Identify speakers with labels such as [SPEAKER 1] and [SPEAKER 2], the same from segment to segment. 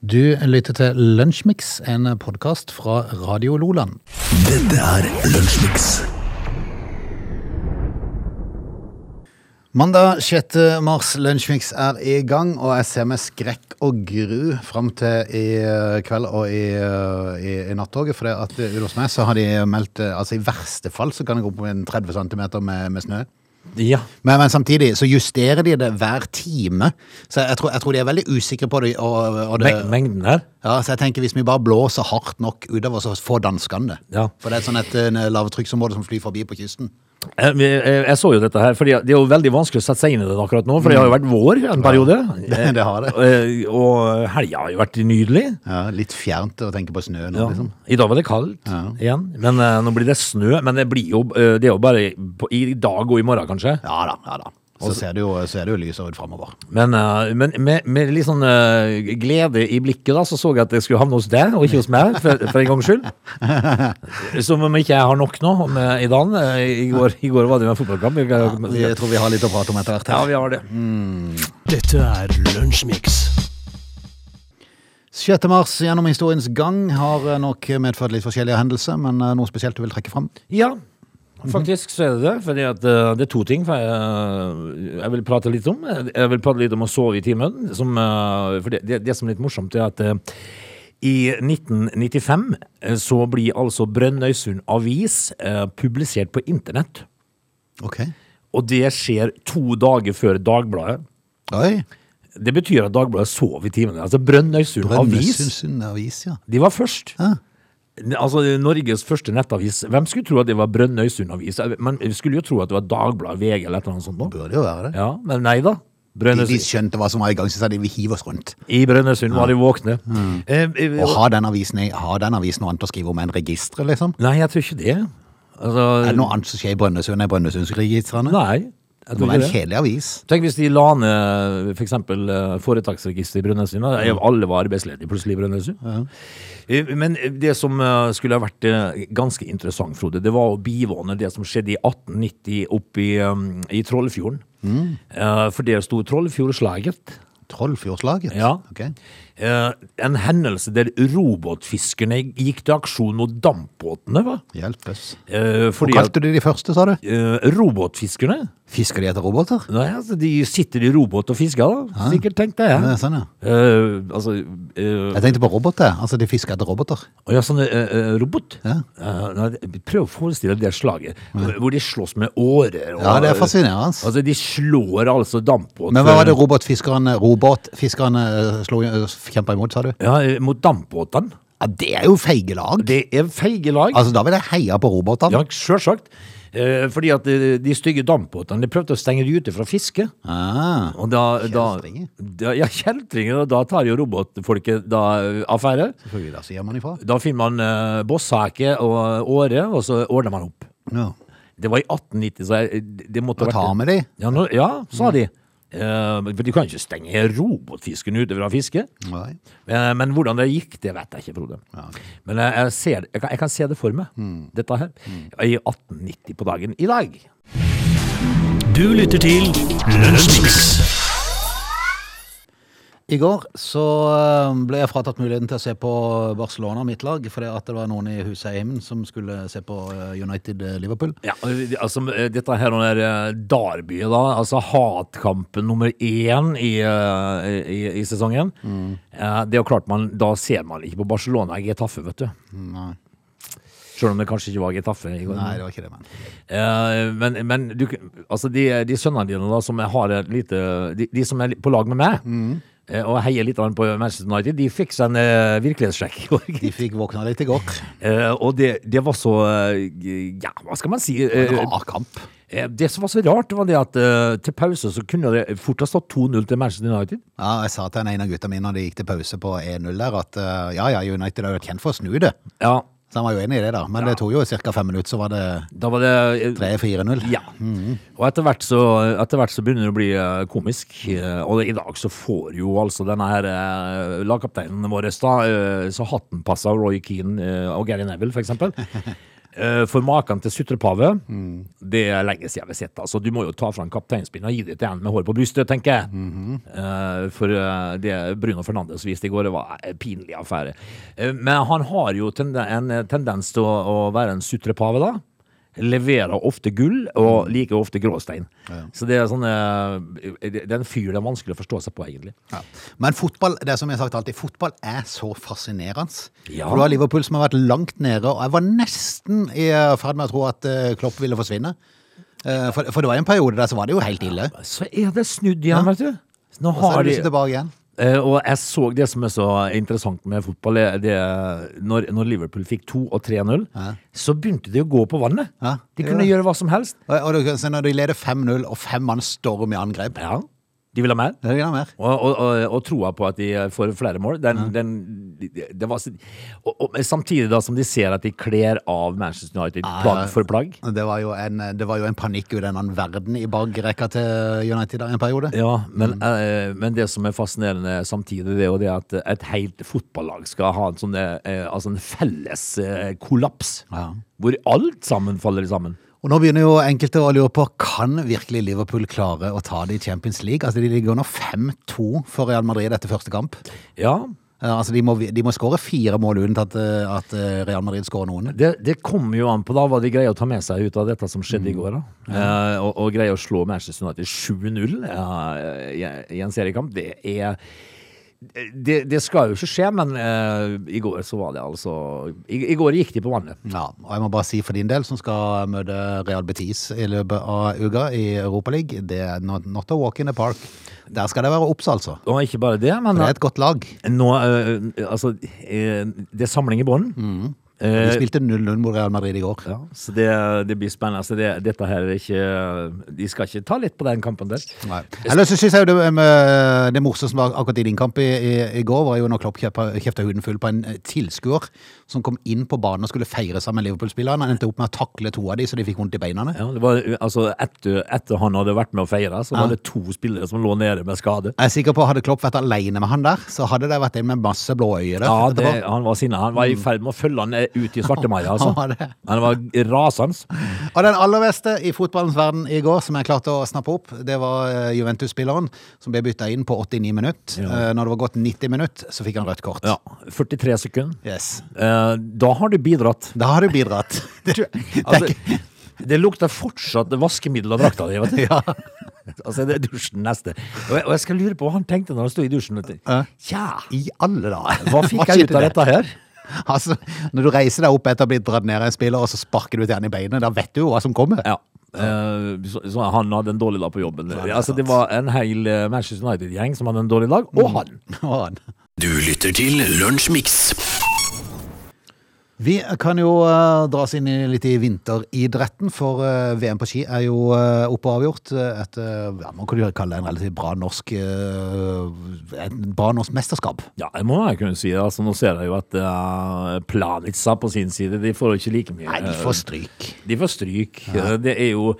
[SPEAKER 1] Du lytter til Lunsjmix, en podkast fra Radio Loland.
[SPEAKER 2] Dette er Lunsjmix.
[SPEAKER 1] Mandag 6. mars, Lunsjmix er i gang, og jeg ser med skrekk og gru fram til i eh, kveld og i, eh, i, i nattoget. For det at eh, ute hos meg så har de meldt eh, altså i verste fall så kan det gå opp med en 30 cm med, med snø.
[SPEAKER 2] Ja.
[SPEAKER 1] Men, men samtidig så justerer de det hver time, så jeg tror, jeg tror de er veldig usikre på det. Og, og det
[SPEAKER 2] Me mengden her?
[SPEAKER 1] ja, så jeg tenker Hvis vi bare blåser hardt nok utover, så får danskene det.
[SPEAKER 2] Ja.
[SPEAKER 1] For det er sånn et eh, lavtrykksområde som flyr forbi på kysten.
[SPEAKER 2] Jeg, Eh, jeg, jeg så jo dette her, for det er jo veldig vanskelig å sette seg inn i det akkurat nå. For det har jo vært vår en periode.
[SPEAKER 1] Det- det har det.
[SPEAKER 2] Eh, Og helga har jo vært nydelig.
[SPEAKER 1] Ja, Litt fjernt å tenke på snø nå,
[SPEAKER 2] Ja.
[SPEAKER 1] liksom.
[SPEAKER 2] I dag var det kaldt igjen, men eh, nå blir det snø. Men det blir jo, eh, det er jo bare på, i dag og i morgen, kanskje.
[SPEAKER 1] Ja da, ja da. Så ser det jo, ser det jo lysere ut framover.
[SPEAKER 2] Men, eh, men med, med litt sånn eh, glede i blikket da, så så jeg at det skulle havne hos deg, og ikke hos meg, for, for en gangs skyld. Som om ikke jeg har nok nå om, eh, i dagen. Eh, I går, i går var det jo en fotballkamp.
[SPEAKER 1] Jeg
[SPEAKER 2] Ja,
[SPEAKER 1] tror vi har litt å prate om etter hvert.
[SPEAKER 2] ja,
[SPEAKER 1] her.
[SPEAKER 2] vi har det.
[SPEAKER 3] Dette er Lunsjmix.
[SPEAKER 1] 6. mars gjennom historiens gang har eh, nok medført litt forskjellige hendelser, men eh, noe spesielt du vil trekke fram?
[SPEAKER 2] Ja, faktisk så er det det. Fordi at eh, det er to ting for jeg, eh, jeg vil prate litt om. Jeg vil prate litt om å sove i timen. Som, eh, for det, det, det som er litt morsomt, er at eh, i 1995 eh, så blir altså Brønnøysund Avis eh, publisert på internett.
[SPEAKER 1] Ok.
[SPEAKER 2] Og det skjer to dager før Dagbladet.
[SPEAKER 1] Oi.
[SPEAKER 2] Det betyr at Dagbladet sov i timene. Altså Brønnøysund Avis.
[SPEAKER 1] Brønnøysundsund Avis, ja.
[SPEAKER 2] De var først.
[SPEAKER 1] Ja.
[SPEAKER 2] Altså, Norges første nettavis. Hvem skulle tro at det var Brønnøysund avis? Man skulle jo tro at det var Dagbladet, VG eller et eller annet sånt. nå.
[SPEAKER 1] Burde jo være det.
[SPEAKER 2] Ja, men nei da.
[SPEAKER 1] De, de
[SPEAKER 2] Brønnøysund.
[SPEAKER 1] skjønte hva som var i gang, så sa de vi hiver oss rundt.
[SPEAKER 2] I Brønnøysund var de våkne. Eh, eh,
[SPEAKER 1] Mm. Og har den avisen, i- har den avisen noe annet å skrive om enn registre, liksom?
[SPEAKER 2] nei, jeg tror ikke det. Altså,
[SPEAKER 1] Er det noe annet som skjer i Brønnøysund enn Brønnøysundsregistrene?
[SPEAKER 2] Nei. Jeg
[SPEAKER 1] Det må
[SPEAKER 2] tror
[SPEAKER 1] være
[SPEAKER 2] ikke
[SPEAKER 1] en
[SPEAKER 2] det.
[SPEAKER 1] kjedelig avis.
[SPEAKER 2] Tenk hvis de la ned for eksempel, eh, foretaksregisteret i Brønnøysund. da. Eh, Alle var arbeidsledige plutselig i Brønnøysund. Eh, Men det som eh, skulle ha vært eh, ganske interessant, Frode, det var å bivåne det som skjedde i 1890 oppe i, eh, i Trollfjorden. Eh, For der sto Trollfjordslaget.
[SPEAKER 1] Trollfjordslaget?
[SPEAKER 2] Ja.
[SPEAKER 1] Ok.
[SPEAKER 2] Eh, En hendelse der robotfiskerne gikk til aksjon mot dampbåtene, hva?
[SPEAKER 1] Hjelpes.
[SPEAKER 2] Eh,
[SPEAKER 1] Hva
[SPEAKER 2] Fordi at
[SPEAKER 1] kalte du de første, sa du?
[SPEAKER 2] eh, robotfiskerne
[SPEAKER 1] Fisker de etter roboter?
[SPEAKER 2] Nei, altså, de sitter i robåt og fisker, da. Sikkert, tenkte jeg.
[SPEAKER 1] Ja, sånn, ja.
[SPEAKER 2] Eh, altså eh,
[SPEAKER 1] Jeg tenkte på roboter. Altså, de fisker etter roboter.
[SPEAKER 2] å ja, sånn eh, eh, robot.
[SPEAKER 1] Ja.
[SPEAKER 2] Eh, nei, prøv å forestille deg det slaget, hvor de slåss med årer. og-
[SPEAKER 1] Ja, det er fascinerende.
[SPEAKER 2] Altså, de slår altså dampbåt
[SPEAKER 1] Men hva var det robotfiskerne robotfiskerne eh, slo, eh, kjempet imot, sa du?
[SPEAKER 2] Ja, eh, mot dampbåtene.
[SPEAKER 1] Ja, Det er jo feige lag.
[SPEAKER 2] Det er feige lag.
[SPEAKER 1] Altså, Da vil jeg heie på robotene.
[SPEAKER 2] Ja, sjølsagt. Eh, fordi at eh, de stygge dampbåtene de prøvde å stenge de ute fra fiske.
[SPEAKER 1] Ah,
[SPEAKER 2] Og da, da,
[SPEAKER 1] Kjeltringer.
[SPEAKER 2] da, ja, kjeltringer, og da tar jo robotfolket da, eh, affære.
[SPEAKER 1] selvfølgelig, da sier man ifra.
[SPEAKER 2] Da finner man eh, bosshake og åre, og så ordner man opp.
[SPEAKER 1] Ja.
[SPEAKER 2] Det var i 1890, så jeg, det måtte
[SPEAKER 1] Og
[SPEAKER 2] ha
[SPEAKER 1] ta
[SPEAKER 2] vært-
[SPEAKER 1] med de.
[SPEAKER 2] Ja, nå, ja sa de. Eh, for de kan ikke stenge robotfisken ute fra fiske.
[SPEAKER 1] Nei.
[SPEAKER 2] Eh, Men hvordan det gikk, det vet jeg ikke, Frode.
[SPEAKER 1] Ja, ok. Mm.
[SPEAKER 2] Men jeg, jeg, ser, jeg, kan, jeg kan se det for meg, dette her. I 1890 på dagen i dag.
[SPEAKER 3] Du lytter til Lunsjmix.
[SPEAKER 1] I går så eh, ble jeg fratatt muligheten til å se på Barcelona, mitt lag, fordi at det var noen i huset i heimen som skulle se på eh, United eh, Liverpool.
[SPEAKER 2] Ja, og, altså, dette her og der eh, derbyet, da. Altså hatkampen nummer én i, eh, i, i sesongen.
[SPEAKER 1] Mm.
[SPEAKER 2] Eh, Det er jo klart man, Da ser man ikke på Barcelona i Getafe, vet du.
[SPEAKER 1] Nei,
[SPEAKER 2] Selv om det kanskje ikke var Getafe i går.
[SPEAKER 1] Nei det var ikke det, men.
[SPEAKER 2] Eh, men men du, altså de, de sønnene dine da, som har et lite De, de som er på lag med meg, eh, og heier litt grann på Manchester United, de fikk seg en eh, virkelighetssjekk. i går.
[SPEAKER 1] De fikk våkna litt i går.
[SPEAKER 2] Eh, og det, det var så eh, Ja, hva skal man si?
[SPEAKER 1] En
[SPEAKER 2] Eh,
[SPEAKER 1] rar kamp.
[SPEAKER 2] eh, det som var så rart, var det at eh, til pause så kunne det fort ha stått 2-0 til Manchester United.
[SPEAKER 1] Ja, jeg sa til en av gutta mine når de gikk til pause på 1-0 der, at eh, ja, ja, United er jo kjent for å snu det.
[SPEAKER 2] Ja,
[SPEAKER 1] Så han var jo enig i det, da. Men det tok jo ca. fem minutter, så var det
[SPEAKER 2] da var det eh,
[SPEAKER 1] 3-4-0.
[SPEAKER 2] Ja. Og etter hvert, så, etter hvert så begynner det å bli eh, komisk. eh, Og i dag så får jo altså denne her eh, lagkapteinen vår da, eh, så hatten passer Roy Keane eh, og Gary Neville, for eksempel. Eh, For maken til sutrepave, det er lenge siden vi har sett. Altså, du må jo ta fram kapteinspinnen og gi det til en med hår på brystet, tenker jeg. Eh, For eh, det Bruno Fernandes viste i går, det var en pinlig affære. Eh, Men han har jo tende- en eh, tendens til å, å være en sutrepave, da. Leverer ofte gull, og like ofte gråstein. Så det er sånn eh, Det det er en fyr det er vanskelig å forstå seg på, egentlig.
[SPEAKER 1] Ja. Men fotball det er som jeg har sagt alltid, fotball er så fascinerende.
[SPEAKER 2] Ja.
[SPEAKER 1] For Du har Liverpool som har vært langt nede, og jeg var nesten i eh, ferd med å tro at eh, Klopp ville forsvinne. Eh, For, for det var jo en periode der så var det jo helt ille.
[SPEAKER 2] Så er det snudd igjen, vet du. Nå
[SPEAKER 1] Og så
[SPEAKER 2] har
[SPEAKER 1] er du
[SPEAKER 2] de
[SPEAKER 1] liksom tilbake igjen.
[SPEAKER 2] Eh, og jeg så det som er så interessant med fotball, det, det når, når Liverpool fikk 2 og 3-0,
[SPEAKER 1] Ja.
[SPEAKER 2] så begynte de å gå på vannet.
[SPEAKER 1] Ja.
[SPEAKER 2] De kunne gjøre hva som helst.
[SPEAKER 1] Og, og du- så når de leder 5-0, og fem mann storm i angrep
[SPEAKER 2] Ja, de ville ha mer.
[SPEAKER 1] Det er ikke noe mer.
[SPEAKER 2] Og, og, og, og troa på at de eh, får flere mål. Den, den, det var, så- og, og, men samtidig da som de ser at de kler av Manchester United plagg for plagg.
[SPEAKER 1] Det var jo en, det var jo en panikk ut av en annen verden i bakrekka til United da, en periode.
[SPEAKER 2] Ja, men, eh, men det som er fascinerende samtidig, det er jo det at et helt fotballag skal ha en, sånn, eh, altså en felles eh, kollaps.
[SPEAKER 1] Ja.
[SPEAKER 2] Hvor alt sammen faller sammen.
[SPEAKER 1] Og nå begynner jo enkelte å lure på kan virkelig Liverpool klare å ta det i Champions League. Altså, De ligger under 5-2 for Real Madrid etter første kamp.
[SPEAKER 2] Ja,
[SPEAKER 1] Eh, Altså, De må, de må skåre fire mål uten at, eh, at eh, Real Madrid skårer noen.
[SPEAKER 2] det, det kommer jo an på da hva de greier å ta med seg ut av dette som skjedde i går. da. Eh, og, og greier å slå Manchester United 7-0 eh, i- i en seriekamp, det er det, det skal jo ikke skje, men eh, i går så var det altså I, i går gikk de på vannet.
[SPEAKER 1] Ja, og jeg må bare si for din del, som skal møte Real Betis i løpet av uka i Europaligaen, det er not, not a walk in the park. Der skal det være obs, altså.
[SPEAKER 2] Og ikke bare det, men
[SPEAKER 1] Det er et godt lag.
[SPEAKER 2] nå eh, Altså, eh, det er samling i bånn.
[SPEAKER 1] Mm. De
[SPEAKER 2] Eh,
[SPEAKER 1] spilte 0-0 mot Real Madrid i går.
[SPEAKER 2] ja, så det, det blir spennende. Så det, dette her er ikke De skal ikke ta litt på den kampen der.
[SPEAKER 1] Nei. Ellers så synes jeg jo det, eh, med- det morsomste som var akkurat i din kamp i, i, i går, var jo når Klopp kjøpa- kjefta huden full på en eh, tilskuer som kom inn på banen og skulle feire sammen med Liverpool-spillerne. Han endte opp med å takle to av de, så de fikk vondt i beina.
[SPEAKER 2] Ja, det var, altså etter, etter han hadde vært med å feire, så
[SPEAKER 1] Ja.
[SPEAKER 2] var det to spillere som lå nede med skade.
[SPEAKER 1] Jeg er sikker på Hadde Klopp vært alene med han der, så hadde det vært en med masse blå øyne.
[SPEAKER 2] Ja, det, Han var sinna. Han var i ferd med å følge han eh, ut i svartemaia.
[SPEAKER 1] Han var
[SPEAKER 2] Altså.
[SPEAKER 1] Mm. det.
[SPEAKER 2] Han var rasende.
[SPEAKER 1] Og den aller beste i fotballens verden i går, som jeg klarte å snappe opp, det var eh, Juventus-spilleren som ble bytta inn på 89 minutter. Eh, Når det var gått 90 minutter, så fikk han rødt kort.
[SPEAKER 2] Ja, 43 sekunder.
[SPEAKER 1] Yes.
[SPEAKER 2] Eh, da har du bidratt.
[SPEAKER 1] Da har du bidratt. Det, det, er ikke-
[SPEAKER 2] Altså, det lukter fortsatt vaskemiddel av drakta di. vet du. Altså, det er dusjen neste. Og jeg, og jeg skal lure på hva han tenkte når han sto i dusjen. vet du.
[SPEAKER 1] Ja.
[SPEAKER 2] Tja,
[SPEAKER 1] I alle dager.
[SPEAKER 2] hva fikk jeg ut
[SPEAKER 1] skjedde
[SPEAKER 2] av
[SPEAKER 1] der?
[SPEAKER 2] dette her?
[SPEAKER 1] Altså, når du reiser deg opp etter å ha blitt dratt ned av en spiller, og så sparker du til han i beinet, da vet du jo hva som kommer.
[SPEAKER 2] Ja. Eh, Så, så han hadde en dårlig dag på jobben.
[SPEAKER 1] det er
[SPEAKER 2] altså, det
[SPEAKER 1] sant.
[SPEAKER 2] var en hel eh, Manchester United-gjeng som hadde en dårlig dag, og han.
[SPEAKER 1] Og han.
[SPEAKER 3] Du lytter til Lunsjmix.
[SPEAKER 1] Vi kan jo eh, dra oss inn i litt i vinteridretten, for eh, VM på ski er jo eh, oppe og avgjort. eh, Et, eh, ja, man kunne jo kalle det en relativt bra norsk, eh, et bra norsk mesterskap.
[SPEAKER 2] Ja, det må jeg kunne si. Altså, nå ser jeg jo at eh, Planica på sin side, de får jo ikke like mye.
[SPEAKER 1] Nei, de får stryk.
[SPEAKER 2] De får stryk. Eh, Det er jo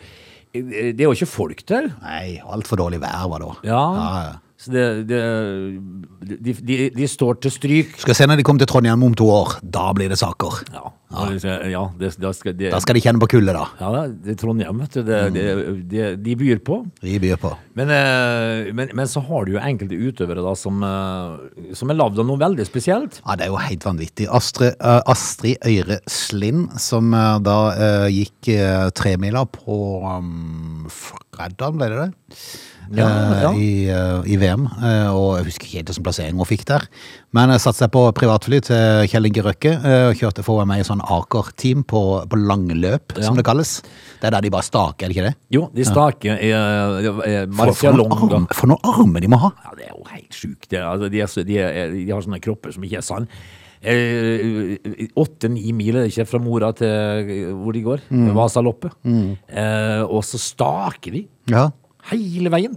[SPEAKER 2] Det er jo ikke folk der.
[SPEAKER 1] Nei, altfor dårlig vær var det da.
[SPEAKER 2] Ja.
[SPEAKER 1] Ja, ja.
[SPEAKER 2] Så det, det de, de, de står til stryk.
[SPEAKER 1] Skal se når de kommer til Trondheim om to år. Da blir det saker.
[SPEAKER 2] Ja, ja det, da skal, det,
[SPEAKER 1] Da skal de kjenne på kullet, da.
[SPEAKER 2] ja, det er Trondheim, vet du. Det, det,
[SPEAKER 1] Mm.
[SPEAKER 2] det, de byr på.
[SPEAKER 1] Vi byr på.
[SPEAKER 2] Men, eh, men, men så har du jo enkelte utøvere da som, eh, som er lagd av noe veldig spesielt.
[SPEAKER 1] Ja, det er jo helt vanvittig. Astrid, eh, Astrid Øyre Slind, som eh, da eh, gikk eh, tremila på um, fredag, ble det det?
[SPEAKER 2] Ja,
[SPEAKER 1] Eh,
[SPEAKER 2] ja.
[SPEAKER 1] I, eh, I VM, eh, og jeg husker ikke helt hvilken plassering hun fikk der. Men jeg satte seg på privatfly til Kjell Inge Røkke eh, og kjørte for å være med i sånn Aker-team på, på langløp,
[SPEAKER 2] Ja.
[SPEAKER 1] som det kalles. Det er der de bare staker, er det ikke det?
[SPEAKER 2] Jo, de staker eh, er, er
[SPEAKER 1] For, for,
[SPEAKER 2] Marcialong.
[SPEAKER 1] noen arm, for noen armer de må ha!
[SPEAKER 2] Ja, det er jo helt sjukt. det. Altså, de, er, så- de, er, de har sånne kropper som ikke er sann. Eh, Åtte-ni mil er det ikke fra Mora til eh, hvor de går,
[SPEAKER 1] Mm.
[SPEAKER 2] Vasaloppet. Eh, og så staker de
[SPEAKER 1] Ja,
[SPEAKER 2] hele veien.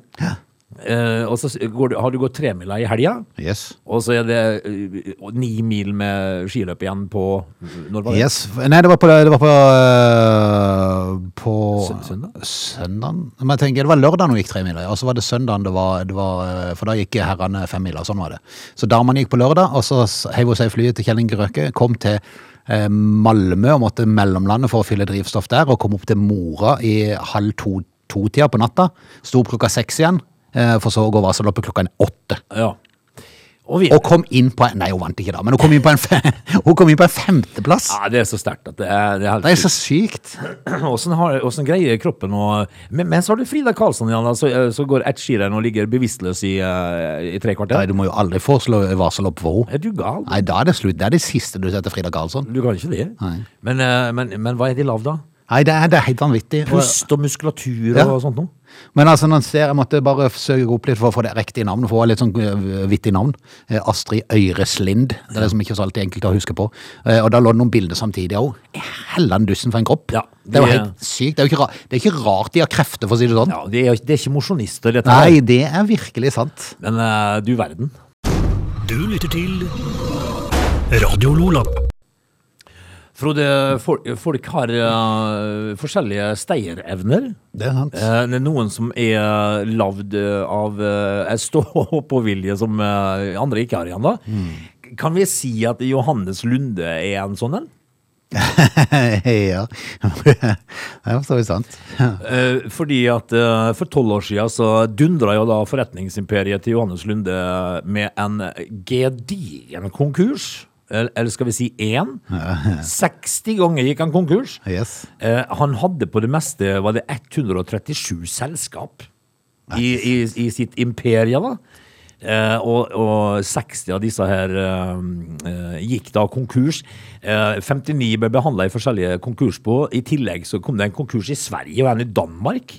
[SPEAKER 2] Eh, og så s- går, du- har du gått tremila i helga,
[SPEAKER 1] yes.
[SPEAKER 2] og så er det eh, og ni mil med skiløp ign på Når var det?
[SPEAKER 1] Yes. Nei, det var på, det var på, øh, på
[SPEAKER 2] Sø- søndag?
[SPEAKER 1] Søndagen? Men jeg tenker, det var lørdag hun gikk tre miler, og så var det søndagen det var, det var øh, For da gikk herrene fem miler, sånn var det. Så damene gikk på lørdag, og så s- heiv hun seg i flyet til Kjell Inge Røkke, kom til eh, Malmö og måtte mellomlande for å fylle drivstoff der, og kom opp til Mora i halv to-tida på natta. Sto opp klokka seks igjen, eh, for så å gå Vasaloppet klokka åtte.
[SPEAKER 2] Ja. Og vi,
[SPEAKER 1] Og kom inn på en, Nei, hun vant ikke da, men hun kom inn på en, fe, hun kom inn på en femteplass!
[SPEAKER 2] ja, det er så sterkt at det er, det er helt
[SPEAKER 1] Det er så sykt.
[SPEAKER 2] Åssen har- åssen greier kroppen å men, Mens har du Frida Karlsson igjen, da, så, eh, så går Ed Sheeran og ligger bevisstløs i, eh, i tre
[SPEAKER 1] Nei,
[SPEAKER 2] kvarter.
[SPEAKER 1] du må jo aldri foreslå Vasalopp for henne.
[SPEAKER 2] Er du gal?
[SPEAKER 1] Nei, da er det slutt. Det er det siste du ser til Frida Karlsson.
[SPEAKER 2] Du kan ikke det.
[SPEAKER 1] Nei.
[SPEAKER 2] Men, eh, men, men hva er de lav, da?
[SPEAKER 1] Nei, det er, det er helt vanvittig. Og-
[SPEAKER 2] Pust og muskulatur
[SPEAKER 1] Ja.
[SPEAKER 2] og sånt noe?
[SPEAKER 1] Men altså, når en ser, jeg måtte bare søke opp litt for å få det riktige navnet, for hun har litt sånn øh, vittig navn. Eh, Astrid Øyreslind. Det er det som ikke er så alltid enkelt å huske på. Eh, Og da lå det noen bilder samtidig òg. Helland dussen for en kropp.
[SPEAKER 2] Ja,
[SPEAKER 1] det er jo
[SPEAKER 2] de er-
[SPEAKER 1] helt sykt. Det er jo ikke, ra- det er ikke rart de har krefter, for å si det sånn.
[SPEAKER 2] Ja, det er, det er ikke mosjonister, dette her.
[SPEAKER 1] Nei, det er virkelig sant.
[SPEAKER 2] Men eh, du verden.
[SPEAKER 3] Du lytter til Radio Lola.
[SPEAKER 2] Frode, folk, folk har eh, forskjellige steierevner.
[SPEAKER 1] Det er sant.
[SPEAKER 2] Eh, det er noen som er lagd eh, av eh, en stå-på-vilje som eh, andre ikke har igjen, da. Kan vi si at Johannes Lunde er en sånn en?
[SPEAKER 1] ja. det er for så vidt sant.
[SPEAKER 2] Eh, fordi at eh, for tolv år siden så dundra jo da forretningsimperiet til Johannes Lunde med en gedigen konkurs. Eller eller skal vi si én? 60 ganger gikk han konkurs.
[SPEAKER 1] Yes.
[SPEAKER 2] Eh, han hadde på det meste var det 137 selskap i, i, i sitt imperie. da. Eh, og, og 60 av disse her eh, eh, gikk da konkurs. Eh, 59 ble behandla i forskjellige konkursbo. I tillegg så kom det en konkurs i Sverige og en i Danmark.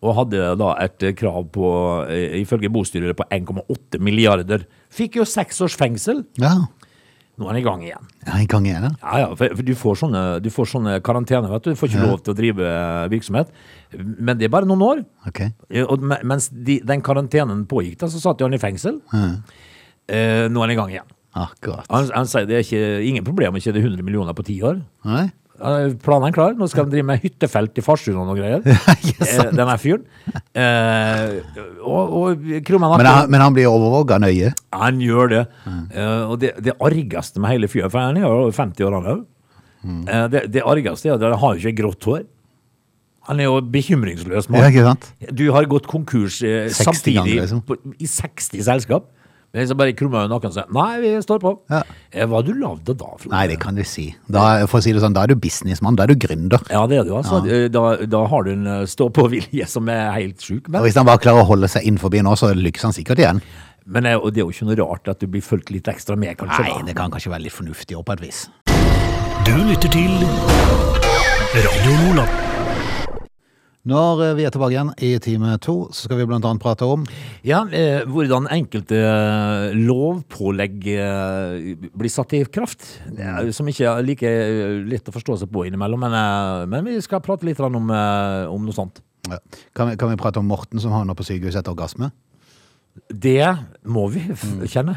[SPEAKER 2] Og hadde da et eh, krav på, eh, ifølge bostyret, på 1,8 milliarder. Fikk jo seks års fengsel.
[SPEAKER 1] Ja.
[SPEAKER 2] Nå er han i gang igjen.
[SPEAKER 1] Ja, I gang igjen, ja.
[SPEAKER 2] Ja, ja, for, for du, får sånne, du får sånne karantene, vet du. Du får ikke lov til å drive eh, virksomhet. Men det er bare noen år.
[SPEAKER 1] Ok.
[SPEAKER 2] Eh, Og me- mens de, den karantenen pågikk, da, så satt jo han i fengsel. Eh, nå er han i gang igjen.
[SPEAKER 1] Akkurat.
[SPEAKER 2] Han, han sier det er ikke, ingen problem å tjene 100 millioner på ti år.
[SPEAKER 1] Nei?
[SPEAKER 2] Eh, Planen er klar. Nå skal han drive med hyttefelt i Farsund og noe greier.
[SPEAKER 1] ikke sant.
[SPEAKER 2] Eh, Denne fyren. Eh, og og Krummen
[SPEAKER 1] Men han, men han blir overvåka nøye.
[SPEAKER 2] han gjør det.
[SPEAKER 1] Mm.
[SPEAKER 2] Eh, og det, det argeste med hele fyren, for han er jo over 50 år, han òg.
[SPEAKER 1] Mm.
[SPEAKER 2] det, det argeste er at han har jo ikke grått hår. Han er jo bekymringsløs
[SPEAKER 1] Ja,
[SPEAKER 2] mann.
[SPEAKER 1] ikke sant?
[SPEAKER 2] Du har gått konkurs eh,
[SPEAKER 1] 60
[SPEAKER 2] samtidig
[SPEAKER 1] ganger, liksom.
[SPEAKER 2] på, i 60 selskap. Men så bare krummer jo nakken og sier 'nei, vi står på'.
[SPEAKER 1] Ja.
[SPEAKER 2] Eh, hva du lagde da, Frode?
[SPEAKER 1] Nei, det kan du si. Da, for å si det sånn, da er du businessmann, da er du gründer.
[SPEAKER 2] Ja, det er du, altså. Eh, Da, da har du en eh, stå-på-vilje som er helt sjuk.
[SPEAKER 1] Og
[SPEAKER 2] Men,
[SPEAKER 1] hvis han bare klarer å holde seg innenfor nå, så lykkes han sikkert igjen.
[SPEAKER 2] men eh, og det er jo ikke noe rart at du blir fulgt litt ekstra med, kanskje.
[SPEAKER 1] Nei,
[SPEAKER 2] da.
[SPEAKER 1] det kan kanskje være litt fornuftig også på et vis.
[SPEAKER 3] Du lytter til Radio Lola.
[SPEAKER 1] Når eh, vi er tilbake igjen i time to, så skal vi blant annet prate om
[SPEAKER 2] Ja, eh, hvordan enkelte eh, lovpålegg eh, blir satt i kraft, Det er- som ikke er like eh, lett å forstå seg på innimellom, men, eh, men vi skal prate litt grann om, eh, om noe sånt.
[SPEAKER 1] ja. kan, vi, kan vi prate om Morten som havner på sykehuset etter orgasme?
[SPEAKER 2] Det må vi f kjenne.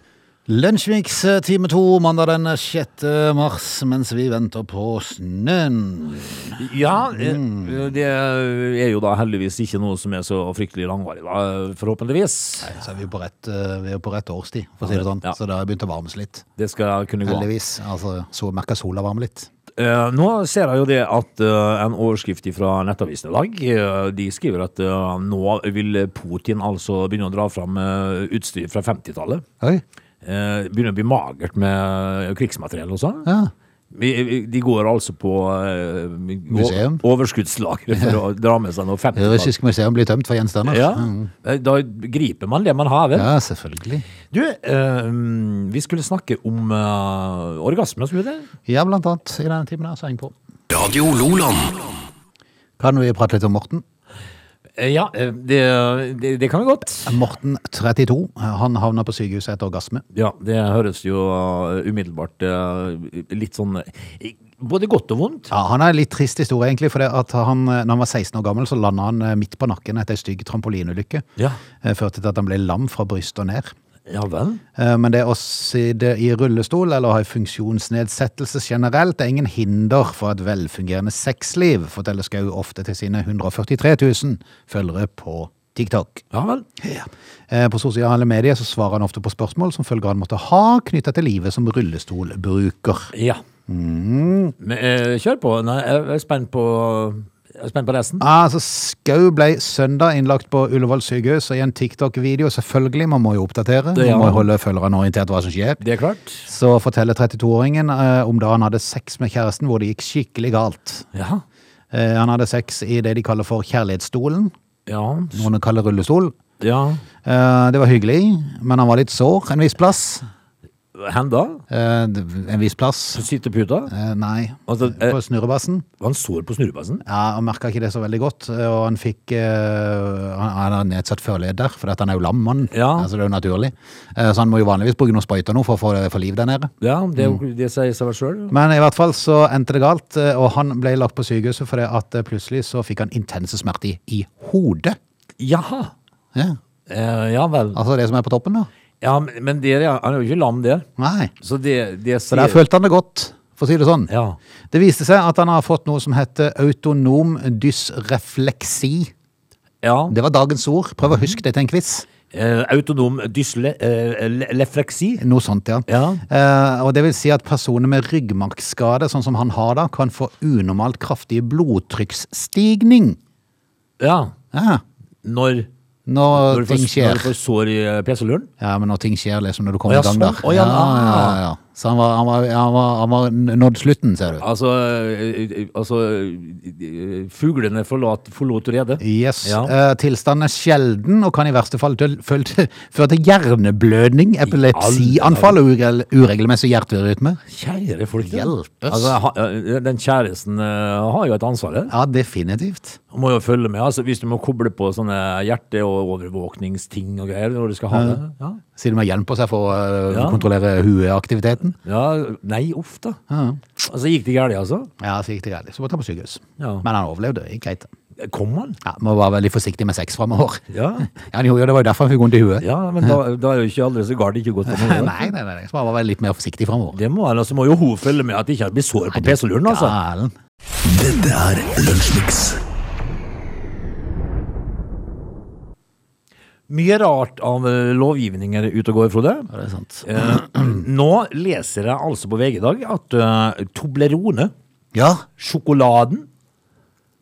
[SPEAKER 1] Lunsjmix eh, time to mandag den 6. mars, mens vi venter på snøen.
[SPEAKER 2] Ja, eh, det er jo da heldigvis ikke noe som er så fryktelig langvarig, da, forhåpentligvis.
[SPEAKER 1] Så er vi jo på rett, eh, vi er jo på rett årstid, for å si det sånn.
[SPEAKER 2] Ja.
[SPEAKER 1] Så det har begynt å varmes litt.
[SPEAKER 2] Det skal kunne gå. an.
[SPEAKER 1] Heldigvis. Altså, så merker sola varme litt.
[SPEAKER 2] Eh, nå ser jeg jo det at eh, en overskrift fra Nettavisen i dag eh, De skriver at eh, nå vil Putin altså begynne å dra fram eh, utstyr fra 50-tallet.
[SPEAKER 1] Oi.
[SPEAKER 2] Eh, begynner å bli magert med krigsmateriell og sånn.
[SPEAKER 1] Ja.
[SPEAKER 2] Vi- vi- De går altså på eh,
[SPEAKER 1] Museum.
[SPEAKER 2] o- overskuddslagre for å dra med seg noe 50-tall.
[SPEAKER 1] Russisk museum blir tømt for gjenstander.
[SPEAKER 2] Ja, eh, da griper man det man har. Vel?
[SPEAKER 1] ja, selvfølgelig.
[SPEAKER 2] Du, eh, vi skulle snakke om eh, orgasme, skulle vi det?
[SPEAKER 1] Ja, blant annet i denne timen her, så heng på.
[SPEAKER 3] Radio Loland.
[SPEAKER 1] Kan vi prate litt om Morten?
[SPEAKER 2] Eh, ja, eh, det, det, det kan vi godt.
[SPEAKER 1] Morten, 32, han havna på sykehuset etter orgasme.
[SPEAKER 2] Ja, det høres jo uh, umiddelbart uh, litt sånn eh, Både godt og vondt.
[SPEAKER 1] Ja, han er en litt trist historie, egentlig. For det at han, eh, når han var 16 år gammel, så landa han eh, midt på nakken etter ei stygg trampolinulykke.
[SPEAKER 2] Ja.
[SPEAKER 1] Eh, Førte til at han ble lam fra brystet og ned.
[SPEAKER 2] Ja vel?
[SPEAKER 1] Eh, Men det å sitte i rullestol eller ha en funksjonsnedsettelse generelt er ingen hinder for et velfungerende sexliv, forteller Skau ofte til sine 143 000 følgere på TikTok.
[SPEAKER 2] Ja vel?
[SPEAKER 1] Eh, På sosiale medier så svarer han ofte på spørsmål som følgerne måtte ha knytta til livet som rullestolbruker.
[SPEAKER 2] Ja. Men, eh, kjør på. Nei, jeg jeg er spent på, jeg er spent på resten.
[SPEAKER 1] Ja, Altså, Skau ble søndag innlagt på Ullevål sykehus, og i en TikTok-video selvfølgelig, man må jo oppdatere,
[SPEAKER 2] Det, ja.
[SPEAKER 1] man må jo holde følgerne orientert hva som skjer,
[SPEAKER 2] Det er klart.
[SPEAKER 1] så forteller 32-åringen eh, om da han hadde sex med kjæresten hvor det gikk skikkelig galt.
[SPEAKER 2] Ja.
[SPEAKER 1] Eh, han hadde sex i det de kaller for kjærlighetsstolen,
[SPEAKER 2] Ja.
[SPEAKER 1] noen kaller rullestol.
[SPEAKER 2] ja.
[SPEAKER 1] Eh, det var hyggelig, men han var litt sår en viss plass.
[SPEAKER 2] Hen da?
[SPEAKER 1] Eh, d- en viss plass?
[SPEAKER 2] Sitteputa?
[SPEAKER 1] Eh, nei,
[SPEAKER 2] Altså, eh,
[SPEAKER 1] på snurrebassen.
[SPEAKER 2] Han sår på snurrebassen?
[SPEAKER 1] Ja, Han merka ikke det så veldig godt, og han fikk eh, Han han har nedsatt førleder, for at han er jo lam, mann.
[SPEAKER 2] Ja.
[SPEAKER 1] Altså, det er jo naturlig. Eh, så han må jo vanligvis bruke noen sprøyter nå for å få det for liv der nede.
[SPEAKER 2] Ja, det, er jo- det sier seg vel sjøl.
[SPEAKER 1] Men i hvert fall så endte det galt, eh, og han ble lagt på sykehuset fordi at eh, plutselig så fikk han intense smerter i, i hodet.
[SPEAKER 2] Jaha.
[SPEAKER 1] Ja.
[SPEAKER 2] Eh, ja vel.
[SPEAKER 1] Altså det som er på toppen, da.
[SPEAKER 2] Ja, men men det, ja, han er jo ikke lam der.
[SPEAKER 1] Nei.
[SPEAKER 2] Så det, det
[SPEAKER 1] Så
[SPEAKER 2] sier
[SPEAKER 1] der følte han det godt, for å si det sånn.
[SPEAKER 2] Ja.
[SPEAKER 1] Det viste seg at han har fått noe som heter autonom dysrefleksi.
[SPEAKER 2] ja.
[SPEAKER 1] Det var dagens ord. Prøv å
[SPEAKER 2] Mhm.
[SPEAKER 1] huske det til en quiz.
[SPEAKER 2] Eh, autonom eh, dyslefleksi.
[SPEAKER 1] Noe sånt, ja.
[SPEAKER 2] Ja.
[SPEAKER 1] Eh, og det vil si at personer med ryggmargskade, sånn som han har da, kan få unormalt kraftig blodtrykksstigning.
[SPEAKER 2] ja.
[SPEAKER 1] Ja, når,
[SPEAKER 2] Når, når, du får,
[SPEAKER 1] ting
[SPEAKER 2] når
[SPEAKER 1] skjer.
[SPEAKER 2] du får sår i eh, PC-luren.
[SPEAKER 1] Ja, men når ting skjer, liksom når du
[SPEAKER 2] Å,
[SPEAKER 1] kommer
[SPEAKER 2] ja,
[SPEAKER 1] i gang
[SPEAKER 2] sånn.
[SPEAKER 1] der.
[SPEAKER 2] Å, ja, ah.
[SPEAKER 1] ja, ja. Så han var, han, var, han, var, han var nådd slutten, ser du.
[SPEAKER 2] Altså, eh, eh, altså eh, Fuglene forlot, forlot redet.
[SPEAKER 1] Yes.
[SPEAKER 2] Ja.
[SPEAKER 1] Eh, tilstanden er sjelden og kan i verste fall til, føl- til- føre til hjerneblødning, epilepsianfall og urel- uregelmessig hjerterytme.
[SPEAKER 2] Kjære folk. ja.
[SPEAKER 1] Hjelpes.
[SPEAKER 2] Altså, ha, eh, den kjæresten eh, har jo et ansvar her.
[SPEAKER 1] Ja, definitivt.
[SPEAKER 2] Du må jo følge med. Altså, hvis du må koble på sånne hjerte- og overvåkningsting og greier når du skal ha det. Ja.
[SPEAKER 1] Siden man hjelper seg for å eh,
[SPEAKER 2] Ja.
[SPEAKER 1] kontrollere hueaktiviteten.
[SPEAKER 2] ja, Nei, uff da. Altså, gikk det galt, altså?
[SPEAKER 1] Ja, så gikk det galt. Så måtte han på sykehus.
[SPEAKER 2] Ja.
[SPEAKER 1] Men han overlevde. det gikk greit.
[SPEAKER 2] Kom han?
[SPEAKER 1] Ja, Må være veldig forsiktig med sex framover.
[SPEAKER 2] Ja.
[SPEAKER 1] Ja, han gjorde jo det, det var jo derfor han fikk vondt i huet.
[SPEAKER 2] ja, men da, da er jo ikke alle så galt ikke gått an å gjøre.
[SPEAKER 1] Nei, nei, nei, nei. Så må han være litt mer forsiktig framover.
[SPEAKER 2] Det må han, altså må jo hun følge med at det ikke blir sår på PC-luren, altså.
[SPEAKER 1] Galen.
[SPEAKER 3] Dette er Lunsjmix.
[SPEAKER 2] Mye rart av eh, lovgivninger ute og går, Frode.
[SPEAKER 1] Ja, det er sant.
[SPEAKER 2] Eh, nå leser jeg altså på VG i dag at eh, Toblerone,
[SPEAKER 1] Ja.
[SPEAKER 2] sjokoladen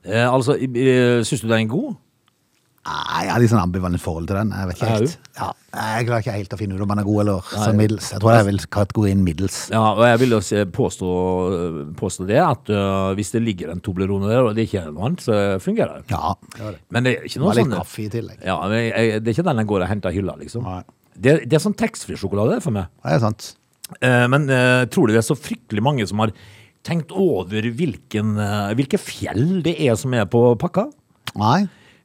[SPEAKER 2] eh, Altså, uh, syns du den er god?
[SPEAKER 1] Nei, Jeg har litt sånn ambivalent forhold til den. Jeg vet ikke
[SPEAKER 2] Er
[SPEAKER 1] helt. Ja, jeg klarer ikke helt å finne ut om den er god eller sånn middels. Jeg tror jeg vil kategorien middels.
[SPEAKER 2] Ja, og jeg vil jo se- påstå, påstå det, at eh, hvis det ligger en Toblerone der, og det ikke er noe annet, så fungerer det.
[SPEAKER 1] Ja.
[SPEAKER 2] Men det er ikke noe
[SPEAKER 1] Med litt
[SPEAKER 2] sånn
[SPEAKER 1] kaffe i tillegg.
[SPEAKER 2] ja, men jeg, jeg, Det er ikke den jeg går og henter i hylla, liksom.
[SPEAKER 1] Nei.
[SPEAKER 2] Det, det er sånn taxfree-sjokolade for meg.
[SPEAKER 1] Det er sant.
[SPEAKER 2] Eh, Men eh, tror du det er så fryktelig mange som har tenkt over hvilken, eh, hvilke fjell det er som er på pakka?
[SPEAKER 1] Nei.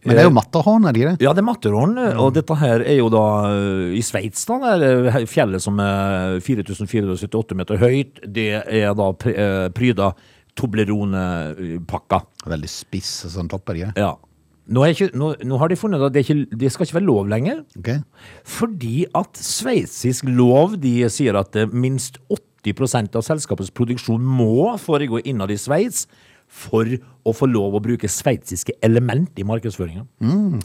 [SPEAKER 1] Men det
[SPEAKER 2] Eh,
[SPEAKER 1] er jo Matterhorn, er det ikke det?
[SPEAKER 2] Ja, det er Matterhorn, eh, og dette her er jo da eh, i Sveits, da. Det er eh, fjellet som er 4478 meter høyt. Det er da pr- eh, pryda Toblerone-pakka.
[SPEAKER 1] Veldig spiss sånn topp, er det ikke det?
[SPEAKER 2] Ja. Nå, er ikke, nå, nå har de funnet ut at det, er ikke, det skal ikke være lov lenger,
[SPEAKER 1] Ok.
[SPEAKER 2] fordi at sveitsisk lov de sier at eh, minst 80 av selskapets produksjon må foregå innad i Sveits for å få lov å bruke sveitsiske element i markedsføringen.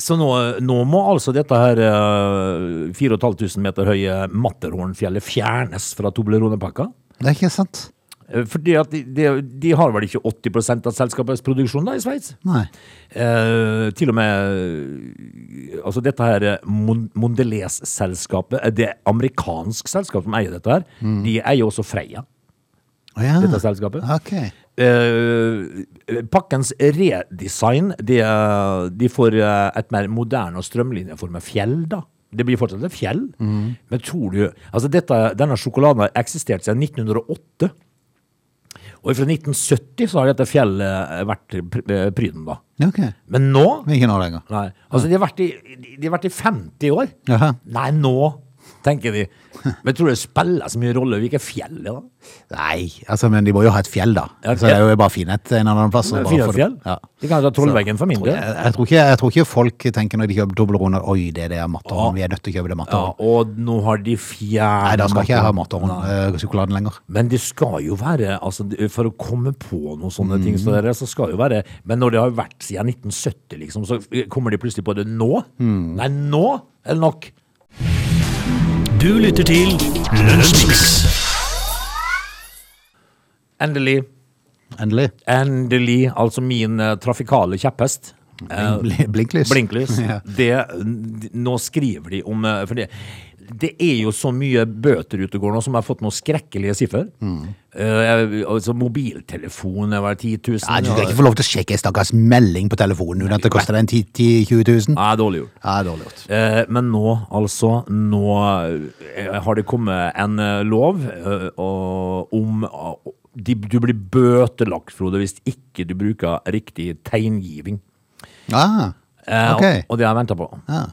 [SPEAKER 2] Så nå, nå må altså dette her eh, 4500 meter høye Matterhornfjellet fjernes fra Toblerone-pakka.
[SPEAKER 1] Det er ikke sant.
[SPEAKER 2] Eh, Fordi at de, de, de har vel ikke 80 av selskapets produksjon da i Sveits?
[SPEAKER 1] Nei.
[SPEAKER 2] Eh, til og med eh, Altså, dette her eh, Mon Mondelez-selskapet, eh, det er amerikansk selskap som eier dette her, de eier også Freia,
[SPEAKER 1] Å ja.
[SPEAKER 2] dette selskapet.
[SPEAKER 1] Ok.
[SPEAKER 2] Eh, pakkens redesign, det, eh, de får eh, et mer moderne og strømlinjeformet fjell, da. Det blir fortsatt et fjell, men tror du Altså, dette, denne sjokoladen har eksistert siden 1908. Og fra 1970 så har dette fjellet vært pr- eh, pryden, da.
[SPEAKER 1] Ja, ok.
[SPEAKER 2] Men nå
[SPEAKER 1] Men Ikke nå lenger.
[SPEAKER 2] Nei. Altså, de har vært i, de har vært i 50 år.
[SPEAKER 1] Jaha.
[SPEAKER 2] Nei, nå tenker de. Men tror du det spiller så mye rolle hvilke fjell det er? da?
[SPEAKER 1] Nei, altså, men de må jo ha et fjell, da.
[SPEAKER 2] Ja,
[SPEAKER 1] Så det er jo bare finhet en eller annen plass. og
[SPEAKER 2] Det er
[SPEAKER 1] bare
[SPEAKER 2] Fire
[SPEAKER 1] få det-
[SPEAKER 2] fjell?
[SPEAKER 1] Ja.
[SPEAKER 2] De kan jo ta Trollveggen for min del.
[SPEAKER 1] Jeg, jeg, tror ikke, jeg tror ikke folk tenker når de kjøper Toblerone Oi, det er det er Matterhorn. Vi er nødt til å kjøpe det
[SPEAKER 2] Ja,
[SPEAKER 1] Matterhorn.
[SPEAKER 2] og nå har de fjernet
[SPEAKER 1] Nei, da skal ikke jeg ha
[SPEAKER 2] maten.
[SPEAKER 1] Matterhorn-sjokoladen lenger.
[SPEAKER 2] Men det skal jo være, altså, det- for å komme på noen sånne ting, så, der, så skal jo være Men når det har vært siden 1970, liksom, så kommer de plutselig på det nå?
[SPEAKER 1] Hmm.
[SPEAKER 2] Nei, nå er det nok.
[SPEAKER 4] Du lytter til Lunsjmix.
[SPEAKER 2] Endelig.
[SPEAKER 1] Endelig.
[SPEAKER 2] Endelig. Altså min eh, trafikale kjepphest. Eh,
[SPEAKER 1] Bli- Blinklys.
[SPEAKER 2] Blinklys.
[SPEAKER 1] Ja.
[SPEAKER 2] Det, n- nå skriver de om eh, For det, det er jo så mye bøter ute og går nå som har fått noen skrekkelige siffer.
[SPEAKER 1] Mm.
[SPEAKER 2] Eh, altså mobiltelefon er vel 10 000.
[SPEAKER 1] Nei, du skal
[SPEAKER 2] og-
[SPEAKER 1] ikke få lov til å sjekke en stakkars melding på telefonen uten at det koster deg en 10 10 20 000.
[SPEAKER 2] Nei, dårlig gjort.
[SPEAKER 1] Ja, dårlig gjort.
[SPEAKER 2] Eh, men nå, altså, nå eh, har det kommet en eh, lov eh, og, om eh, de, Du blir bøtelagt, Frode, hvis ikke du bruker riktig tegngiving.
[SPEAKER 1] Ah,
[SPEAKER 2] Eh,
[SPEAKER 1] ok.
[SPEAKER 2] og, og det har jeg venta på.
[SPEAKER 1] Ja.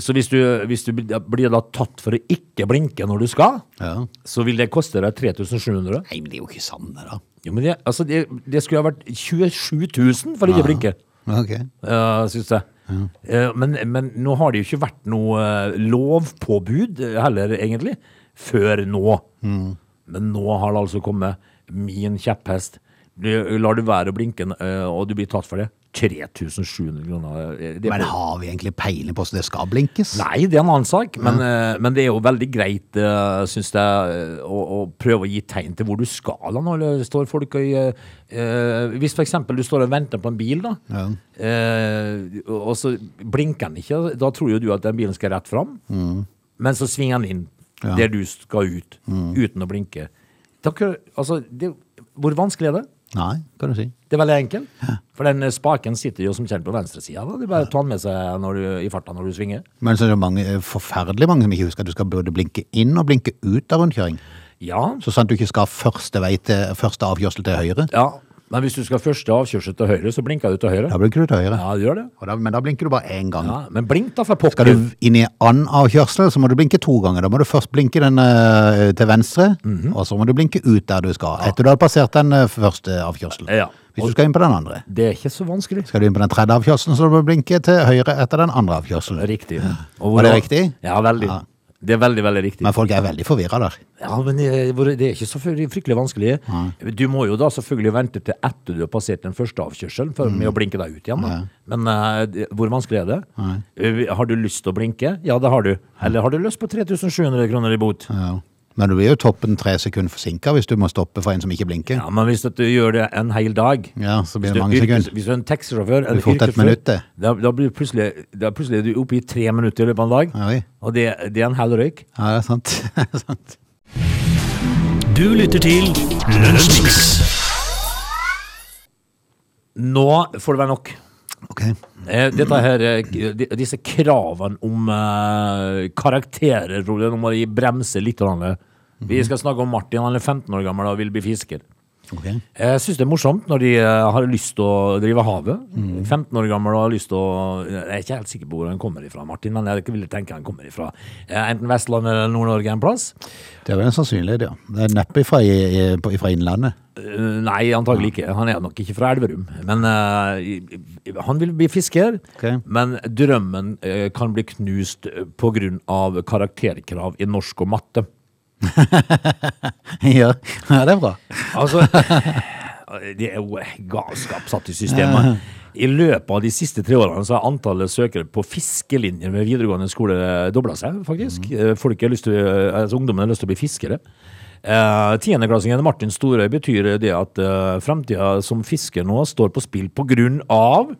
[SPEAKER 2] Så hvis du, hvis du blir- blir da tatt for å ikke blinke når du skal,
[SPEAKER 1] Ja.
[SPEAKER 2] så vil det koste deg 3700.
[SPEAKER 1] Nei, men det er jo ikke sant, det, da.
[SPEAKER 2] Jo, men det, altså, det, det skulle ha vært 27 000 for å ikke blinke.
[SPEAKER 1] Ok.
[SPEAKER 2] uh, syns jeg. Eh, men, men nå har det jo ikke vært noe eh, lovpåbud eh, heller, egentlig, før nå.
[SPEAKER 1] Mm.
[SPEAKER 2] Men nå har det altså kommet min kjepphest. Du, lar du være å blinke, eh, og du blir tatt for det. 3700 kroner. eh, Det er
[SPEAKER 1] Men
[SPEAKER 2] på-
[SPEAKER 1] har vi egentlig peiling på hvordan det skal blinkes?
[SPEAKER 2] Nei, det er en annen sak, men, eh, men det er jo veldig greit, uh, syns jeg, eh, å, å prøve å gi tegn til hvor du skal da, når det står folk og eh, eh, Hvis for eksempel du står og venter på en bil, da, eh, og og så blinker den ikke, da tror jo du at den bilen skal rett fram, men så svinger den inn der du skal ut, uten å blinke. Takk, altså, det, hvor vanskelig er det?
[SPEAKER 1] Nei, kan du si.
[SPEAKER 2] Det er veldig enkelt, for den eh, spaken sitter jo som kjent på venstresida. da. Det er bare å ta den med seg når du, i farta når du svinger.
[SPEAKER 1] Men så er det mange, eh, forferdelig mange som ikke husker at du skal både blinke inn og blinke ut av rundkjøring.
[SPEAKER 2] Ja,
[SPEAKER 1] Så sant du ikke skal første, vei til, første avkjørsel til høyre.
[SPEAKER 2] Ja, men hvis du skal første avkjørsel til høyre, så blinker du til høyre.
[SPEAKER 1] Da blinker du til høyre.
[SPEAKER 2] Ja, du gjør det.
[SPEAKER 1] Og da, men da blinker du bare én gang.
[SPEAKER 2] Ja, men blink da for pokker.
[SPEAKER 1] Skal du inn i annen avkjørsel, så må du blinke to ganger. Da må du først blinke den eh, til venstre,
[SPEAKER 2] Mhm.
[SPEAKER 1] og så må du blinke ut der du skal. Etter du har passert den eh, første avkjørselen.
[SPEAKER 2] Ja.
[SPEAKER 1] Hvis du skal inn på den andre.
[SPEAKER 2] Det er ikke så vanskelig.
[SPEAKER 1] Skal du inn på den tredje avkjørselen, så må du blinke til høyre etter den andre avkjørselen.
[SPEAKER 2] Riktig.
[SPEAKER 1] Var det riktig?
[SPEAKER 2] Ja, veldig.
[SPEAKER 1] Ja.
[SPEAKER 2] Det er veldig, veldig riktig.
[SPEAKER 1] Men folk er veldig forvirra der.
[SPEAKER 2] Ja, men eh, hvor- det er ikke så fry- fryktelig vanskelig. Du må jo da selvfølgelig vente til etter du har passert den første avkjørselen
[SPEAKER 1] Mm.
[SPEAKER 2] for, med å blinke deg ut igjen. Da. Men eh, det- hvor vanskelig er det? Eh, Har du lyst til å blinke? Ja, det har du. Eller har du lyst på 3700 kroner i bot?
[SPEAKER 1] Ja. Men du blir jo toppen tre sekunder forsinka hvis du må stoppe for en som ikke blinker.
[SPEAKER 2] Ja, men hvis at du gjør det en hel dag
[SPEAKER 1] Ja, så blir det
[SPEAKER 2] hvis du er
[SPEAKER 1] mange
[SPEAKER 2] yrkes-
[SPEAKER 1] sekunder.
[SPEAKER 2] Hvis du er en taxisjåfør eller
[SPEAKER 1] Du får til et
[SPEAKER 2] yrkessjåfør,
[SPEAKER 1] minutt, det.
[SPEAKER 2] Da, da blir plutselig, da plutselig er du oppe i tre minutter i løpet av en dag
[SPEAKER 1] Ja, vi.
[SPEAKER 2] Og det, det er en hel røyk
[SPEAKER 1] Ja, det er sant. Det er sant.
[SPEAKER 4] Du lytter til Lunsjmix.
[SPEAKER 2] Nå får det være nok
[SPEAKER 1] Ok.
[SPEAKER 2] Eh, Dette her, eh, k- de- disse kravene om eh, karakterer Frode, Nå må de bremse litt grann. Vi
[SPEAKER 1] Mhm.
[SPEAKER 2] skal snakke om Martin, han er 15 år gammel og vil bli fisker
[SPEAKER 1] Ok.
[SPEAKER 2] Jeg syns det er morsomt når de eh, har lyst til å drive havet. 15 år gammel og har lyst til å Jeg er ikke helt sikker på hvor han kommer ifra, Martin, men jeg ville tenke han kommer ifra eh, enten Vestlandet eller Nord-Norge en plass.
[SPEAKER 1] Det er vel en sannsynlighet, ja. Det er neppe fra, fra Innlandet.
[SPEAKER 2] Eh, Nei, antagelig ikke. Han er nok ikke fra Elverum. Men eh, i- i- han vil bli fisker.
[SPEAKER 1] Ok.
[SPEAKER 2] Men drømmen eh, kan bli knust pga. karakterkrav i norsk og matte.
[SPEAKER 1] ja. ja, det er bra.
[SPEAKER 2] Altså, det er jo galskap satt i systemet. I løpet av de siste tre årene så har antallet søkere på fiskelinjer ved videregående skole dobla seg, faktisk. Eh, Folk har lyst til, eh, altså Ungdommen har lyst til å bli fiskere. Eh, Tiendeklassingen Martin Storøy betyr det at eh, framtida som fisker nå står på spill på grunn av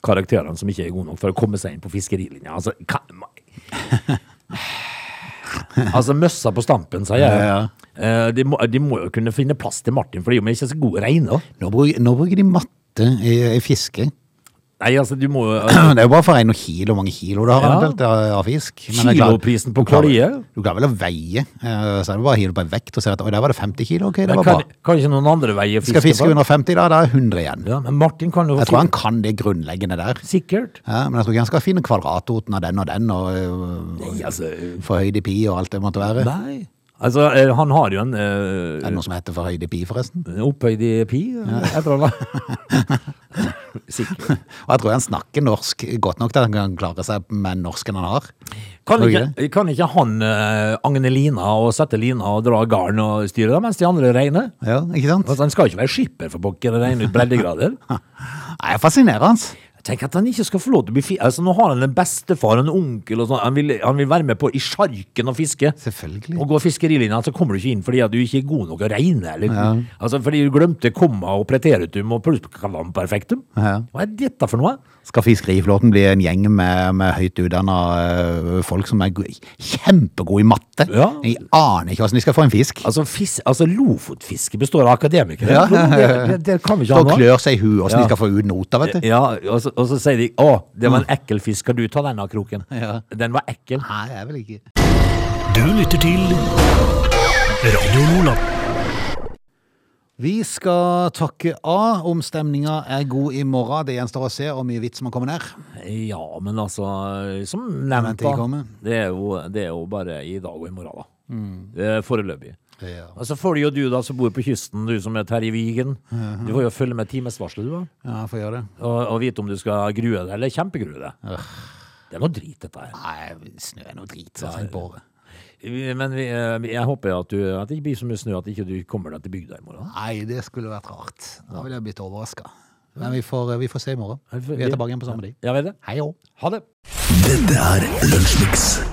[SPEAKER 2] karakterene som ikke er gode nok for å komme seg inn på fiskerilinja. Altså, kan, altså møssa på stampen, sier jeg.
[SPEAKER 1] Ja,
[SPEAKER 2] Eh, De, må, de må jo kunne finne plass til Martin, for de er jo ikke så gode å regne. da.
[SPEAKER 1] Nå bruker, nå bruker de matte i, i fiske.
[SPEAKER 2] Nei, altså, du må
[SPEAKER 1] Det er jo bare for en og kilo, hvor mange kilo du har
[SPEAKER 2] Ja.
[SPEAKER 1] eventuelt av av fisk. Men det er klart-
[SPEAKER 2] Kiloprisen på
[SPEAKER 1] du klarer-
[SPEAKER 2] kaloriet?
[SPEAKER 1] Du klarer vel å veie, eh, så er det bare å hive det på en vekt og se at oi, der var det 50 kilo, ok, det
[SPEAKER 2] Men
[SPEAKER 1] var
[SPEAKER 2] kan,
[SPEAKER 1] bra.
[SPEAKER 2] kan ikke noen andre veie fiske?
[SPEAKER 1] Skal fiske
[SPEAKER 2] på?
[SPEAKER 1] under 50 da, da er det 100 igjen.
[SPEAKER 2] Ja, men Martin kan jo
[SPEAKER 1] Jeg tror han kan det grunnleggende der.
[SPEAKER 2] Sikkert.
[SPEAKER 1] Ja, men jeg tror ikke han skal finne kvadratroten av den og den, og, øh,
[SPEAKER 2] Nei, altså,
[SPEAKER 1] og forhøyd i pi og alt det måtte være.
[SPEAKER 2] Nei. Altså, eh, han har jo en
[SPEAKER 1] Er
[SPEAKER 2] eh,
[SPEAKER 1] det noe som heter forhøyd i pi forresten?
[SPEAKER 2] opphøyd i pi, eh, et eller annet. Sikkert.
[SPEAKER 1] Og jeg tror han snakker norsk godt nok til at han kan klare seg med norsken han har.
[SPEAKER 2] Kan
[SPEAKER 1] Tror du ikke
[SPEAKER 2] ikke, kan ikke han eh, agne lina og sette lina og dra garn og styre det, mens de andre regner?
[SPEAKER 1] Ja, ikke sant?
[SPEAKER 2] Altså, han skal ikke være skipper for pokker og regne ut breddegrader.
[SPEAKER 1] Nei, jeg fascinerer hans.
[SPEAKER 2] Tenk at han ikke skal få lov til å bli fi... Altså, nå har han en bestefar og en onkel og sånn. Han, vil- han vil være med på i sjarken og fiske.
[SPEAKER 1] Selvfølgelig.
[SPEAKER 2] Og går fiskerilinja, så kommer du ikke inn fordi at du ikke er god nok å regne. Eller, altså, fordi du glemte komma og preteritum og plusskvalamperfektum.
[SPEAKER 1] Ja.
[SPEAKER 2] Hva er dette for noe?
[SPEAKER 1] Skal fiskeriflåten bli en gjeng med, med høyt utdanna folk som er go- kjempegode i matte?
[SPEAKER 2] Ja.
[SPEAKER 1] Jeg aner ikke hvordan de skal få en fisk.
[SPEAKER 2] Altså, fis, altså Lofotfiske består av akademikere.
[SPEAKER 1] Ja.
[SPEAKER 2] Det, det, det kan vi ikke
[SPEAKER 1] Så
[SPEAKER 2] ha nå.
[SPEAKER 1] klør seg i huet hvordan
[SPEAKER 2] Ja.
[SPEAKER 1] de skal få ut nota, vet du.
[SPEAKER 2] Ja, og så, og så sier de 'Å, det var en ekkel fisk, skal du ta den av kroken?'
[SPEAKER 1] Ja.
[SPEAKER 2] Den var ekkel.
[SPEAKER 1] Nei, jeg er vel ikke
[SPEAKER 4] Du lytter til Radio Lola.
[SPEAKER 1] Vi skal takke av. Omstemninga er god i morgen. Det gjenstår å se hvor mye vits man kommer ned.
[SPEAKER 2] Ja, men altså, som
[SPEAKER 1] Men
[SPEAKER 2] nevnt,
[SPEAKER 1] til
[SPEAKER 2] da.
[SPEAKER 1] kommer.
[SPEAKER 2] Det er, jo, det er jo bare i dag og i morgen, da. Det er Foreløpig.
[SPEAKER 1] Mm. Ja.
[SPEAKER 2] Og så får du jo du da som bor på kysten, du som er Terje Vigen. Du får jo følge med timesvarsel, du da.
[SPEAKER 1] ja, får gjøre det.
[SPEAKER 2] Og, og vite om du skal grue deg eller kjempegrue deg. Det er noe drit, dette her.
[SPEAKER 1] Nei, snø er noe drit. altså, Så jeg bare.
[SPEAKER 2] Vi- Men vi, eh, jeg håper at, du, at det ikke blir så mye snø at ikke du kommer deg til bygda i morgen.
[SPEAKER 1] Nei, det skulle vært rart. Da ville jeg blitt overraska. Men vi får, eh, vi får se i morgen.
[SPEAKER 2] Vi
[SPEAKER 1] Vi er tilbake igjen på samme tid.
[SPEAKER 2] Ja, vet det.
[SPEAKER 1] Hei òg.
[SPEAKER 2] Ha det.
[SPEAKER 3] Dette er Lunsjmix.